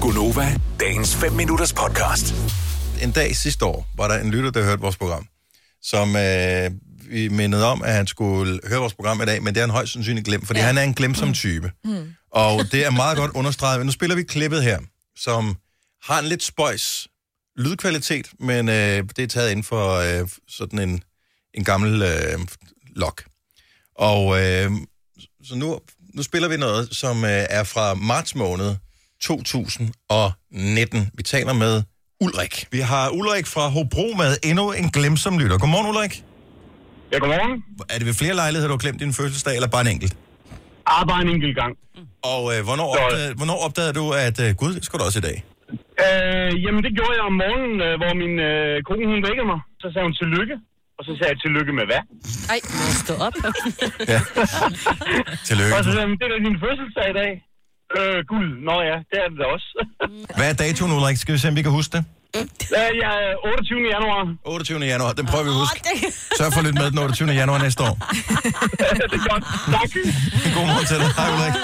Gunova, dagens 5 minutters podcast. en dag sidste år var der en lytter, der hørte vores program, som øh, vi mindede om, at han skulle høre vores program i dag, men det er en højst sandsynlig glem, fordi ja. han er en glemsom type. Mm. Og det er meget godt understreget. Men nu spiller vi klippet her, som har en lidt spøjs lydkvalitet, men øh, det er taget inden for øh, sådan en, en gammel øh, lok. Og øh, så nu, nu spiller vi noget, som øh, er fra marts måned 2019. Vi taler med Ulrik. Vi har Ulrik fra Hobro med endnu en glemsom lytter. Godmorgen, Ulrik. Ja, godmorgen. Er det ved flere lejligheder, du har glemt din fødselsdag, eller bare en enkelt? Ah, bare en enkelt gang. Og øh, hvornår, Nå. opdagede, hvornår opdagede du, at øh, gud, det skulle du også i dag? Øh, jamen, det gjorde jeg om morgenen, øh, hvor min øh, kone hun vækkede mig. Så sagde hun tillykke. Og så sagde jeg, tillykke med hvad? Ej, må jeg stå op? Tillykke. Og så sagde hun, det er da din fødselsdag i dag. Øh, guld. Nå ja, det er det da også. Hvad er datoen, Ulrik? Skal vi se, om vi kan huske det? Øh, jeg er 28. januar. 28. januar. Den prøver vi at huske. Sørg for at lytte med den 28. januar næste år. det er godt. Tak. En god morgen til dig. Hej, Ulrik.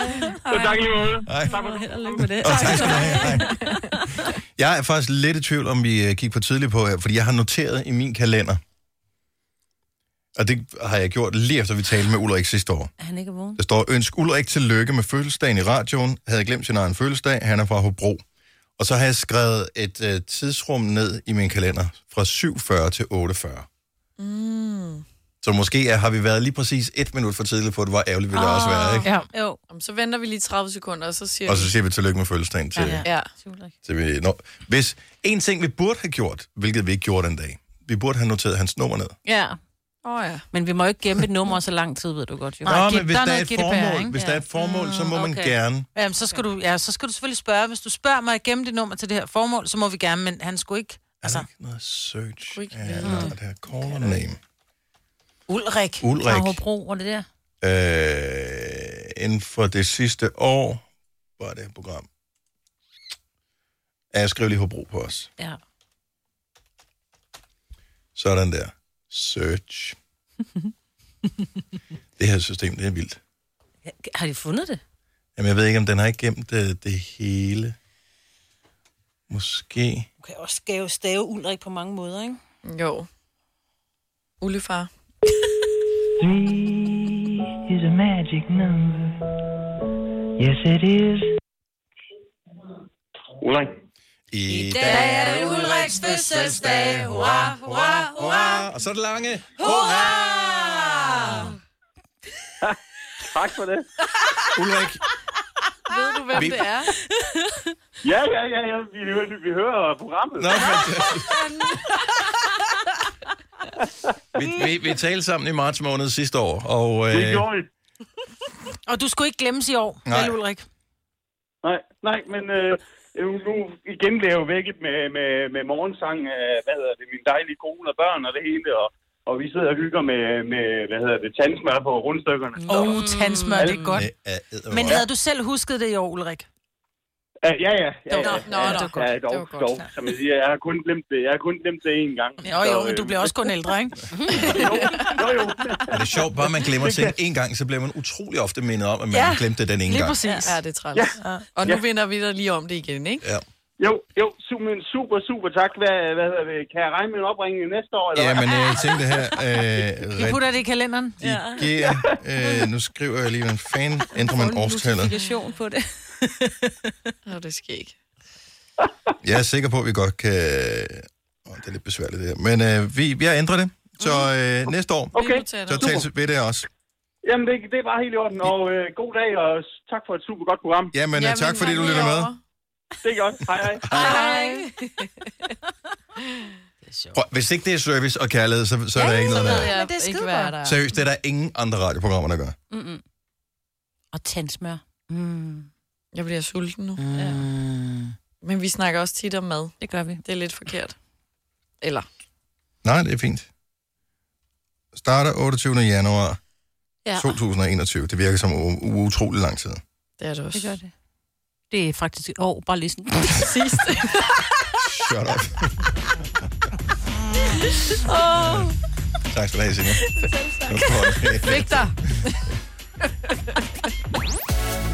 Så tak i lige måde. Hej. Tak for Held og lykke med det. Og tak skal du have. Hej. Jeg er faktisk lidt i tvivl, om vi øh, gik for tidligt på her, fordi jeg har noteret i min kalender. Og det har jeg gjort lige efter, vi talte med Ulrik sidste år. Er han ikke vågen? Der står, ønsk Ulrik tillykke med fødselsdagen i radioen. Havde glemt sin egen fødselsdag. Han er fra Hobro. Og så har jeg skrevet et øh, tidsrum ned i min kalender fra 7.40 til 8.40. Mm. Så måske er, har vi været lige præcis et minut for tidligt på, det var ærgerligt, ville det også være, ikke? Ja. Jo. Jamen, Så venter vi lige 30 sekunder, og så siger Og vi... så siger vi tillykke med fødselsdagen til, ja. Ja. til vi når. Hvis en ting, vi burde have gjort, hvilket vi ikke gjorde den dag, vi burde have noteret hans nummer ned. Ja, Åh oh, ja. men vi må jo ikke gemme et nummer så lang tid, ved du godt. Jo. Nå, Git- men hvis der, er et noget GDPR, formål, ikke? hvis Ja. der er et formål, så må man okay. gerne. Jamen, så skal, du, ja, så skal du selvfølgelig spørge. Hvis du spørger mig at gemme dit nummer til det her formål, så må vi gerne, men han skulle ikke... Er der Altså, ikke noget search? Quick. Eller, det her caller name. Ulrik. Ulrik. Fra Hobro, var det der? Øh, inden for det sidste år var det her program. Ja, jeg skrev lige Hobro på os. Ja. Sådan der. Search. det her system, det er vildt. Har de fundet det? Jamen, jeg ved ikke, om den har ikke gemt det, det hele. Måske. Du kan også skave stave Ulrik på mange måder, ikke? Jo. Ullefar. Three is a magic number. Yes, it is. Ulrik. I er det Ulriks fødselsdag. Hurra, hurra, Hurra! Og så er det lange. Hurra! Tak for det. Ulrik, Ved du, hvem Vi- det er? Ja, ja, ja, ja. Vi, vi, vi hører programmet. Nå, fantastisk. vi, vi, vi talte sammen i marts måned sidste år, og øh, vi. Og du skulle ikke glemmes i år, Nej. vel, Ulrik? Nej, nej, men øh, øh, nu igen blev jeg jo vækket med, med, med morgensang af, hvad hedder det, min dejlige kone og børn og det hele, og, og vi sidder og hygger med, med hvad hedder det, tandsmør på rundstykkerne. Mm. Åh, oh, tandsmør, det er godt. det er eddermame- Men havde du selv husket det i år, Ulrik? Ja, ja, ja. ja, Nå, ja, nå, ja, det var godt. Ja, dog, Det var godt. dog, som jeg siger, jeg har kun glemt det, jeg har kun glemt det én gang. øh, Jo, jo, men du bliver også kun ældre, ikke? Jo, jo. Er det sjovt, bare man glemmer ting en gang, så bliver man utrolig ofte mindet om, at man ja, Ja, glemte det den ene gang. præcis. Ja, det er træls. Ja. Og nu Ja. vinder vi dig lige om det igen, ikke? Ja. Jo, jo, su- men super, super tak. Hvad, hvad hedder det, kan jeg regne med en opringning næste år? Eller ja, hvad? men øh, jeg tænkte her, Vi øh, putter det i kalenderen. rediger, øh, nu skriver jeg lige, hvordan fanden ændrer man årstallet. Notifikation på det. Nå, det skal ikke. Jeg er sikker på, at vi godt kan... Åh, det er lidt besværligt det her, men øh, vi, jeg ændrer det. Så øh, næste år, Okay, så tales vi ved det også. jamen det, det er bare helt i orden, og øh, god dag, og s- tak for et super godt program. Jamen, øh, tak fordi du lytter med. Det er godt, hej hej. Hej. Prøv, hvis ikke det er service og kærlighed, så, så er der ikke noget ved der. jeg men det er ikke, skidegodt. hvad der er. Seriøst, det er der ingen andre radioprogrammer, der gør. Og tandsmør. Mm. Jeg bliver sulten nu. Ja. Men vi snakker også tit om mad. Det gør vi. Det er lidt forkert. Eller, Nej, det er fint. Starter 28. januar ja. Ja. 2021. Det virker som u- utrolig lang tid. det er det også. Det gør det. Det er faktisk et år, bare lige sådan. Sidst. Shut up. oh. Tak skal du have, Signe. Selv tak. Victor.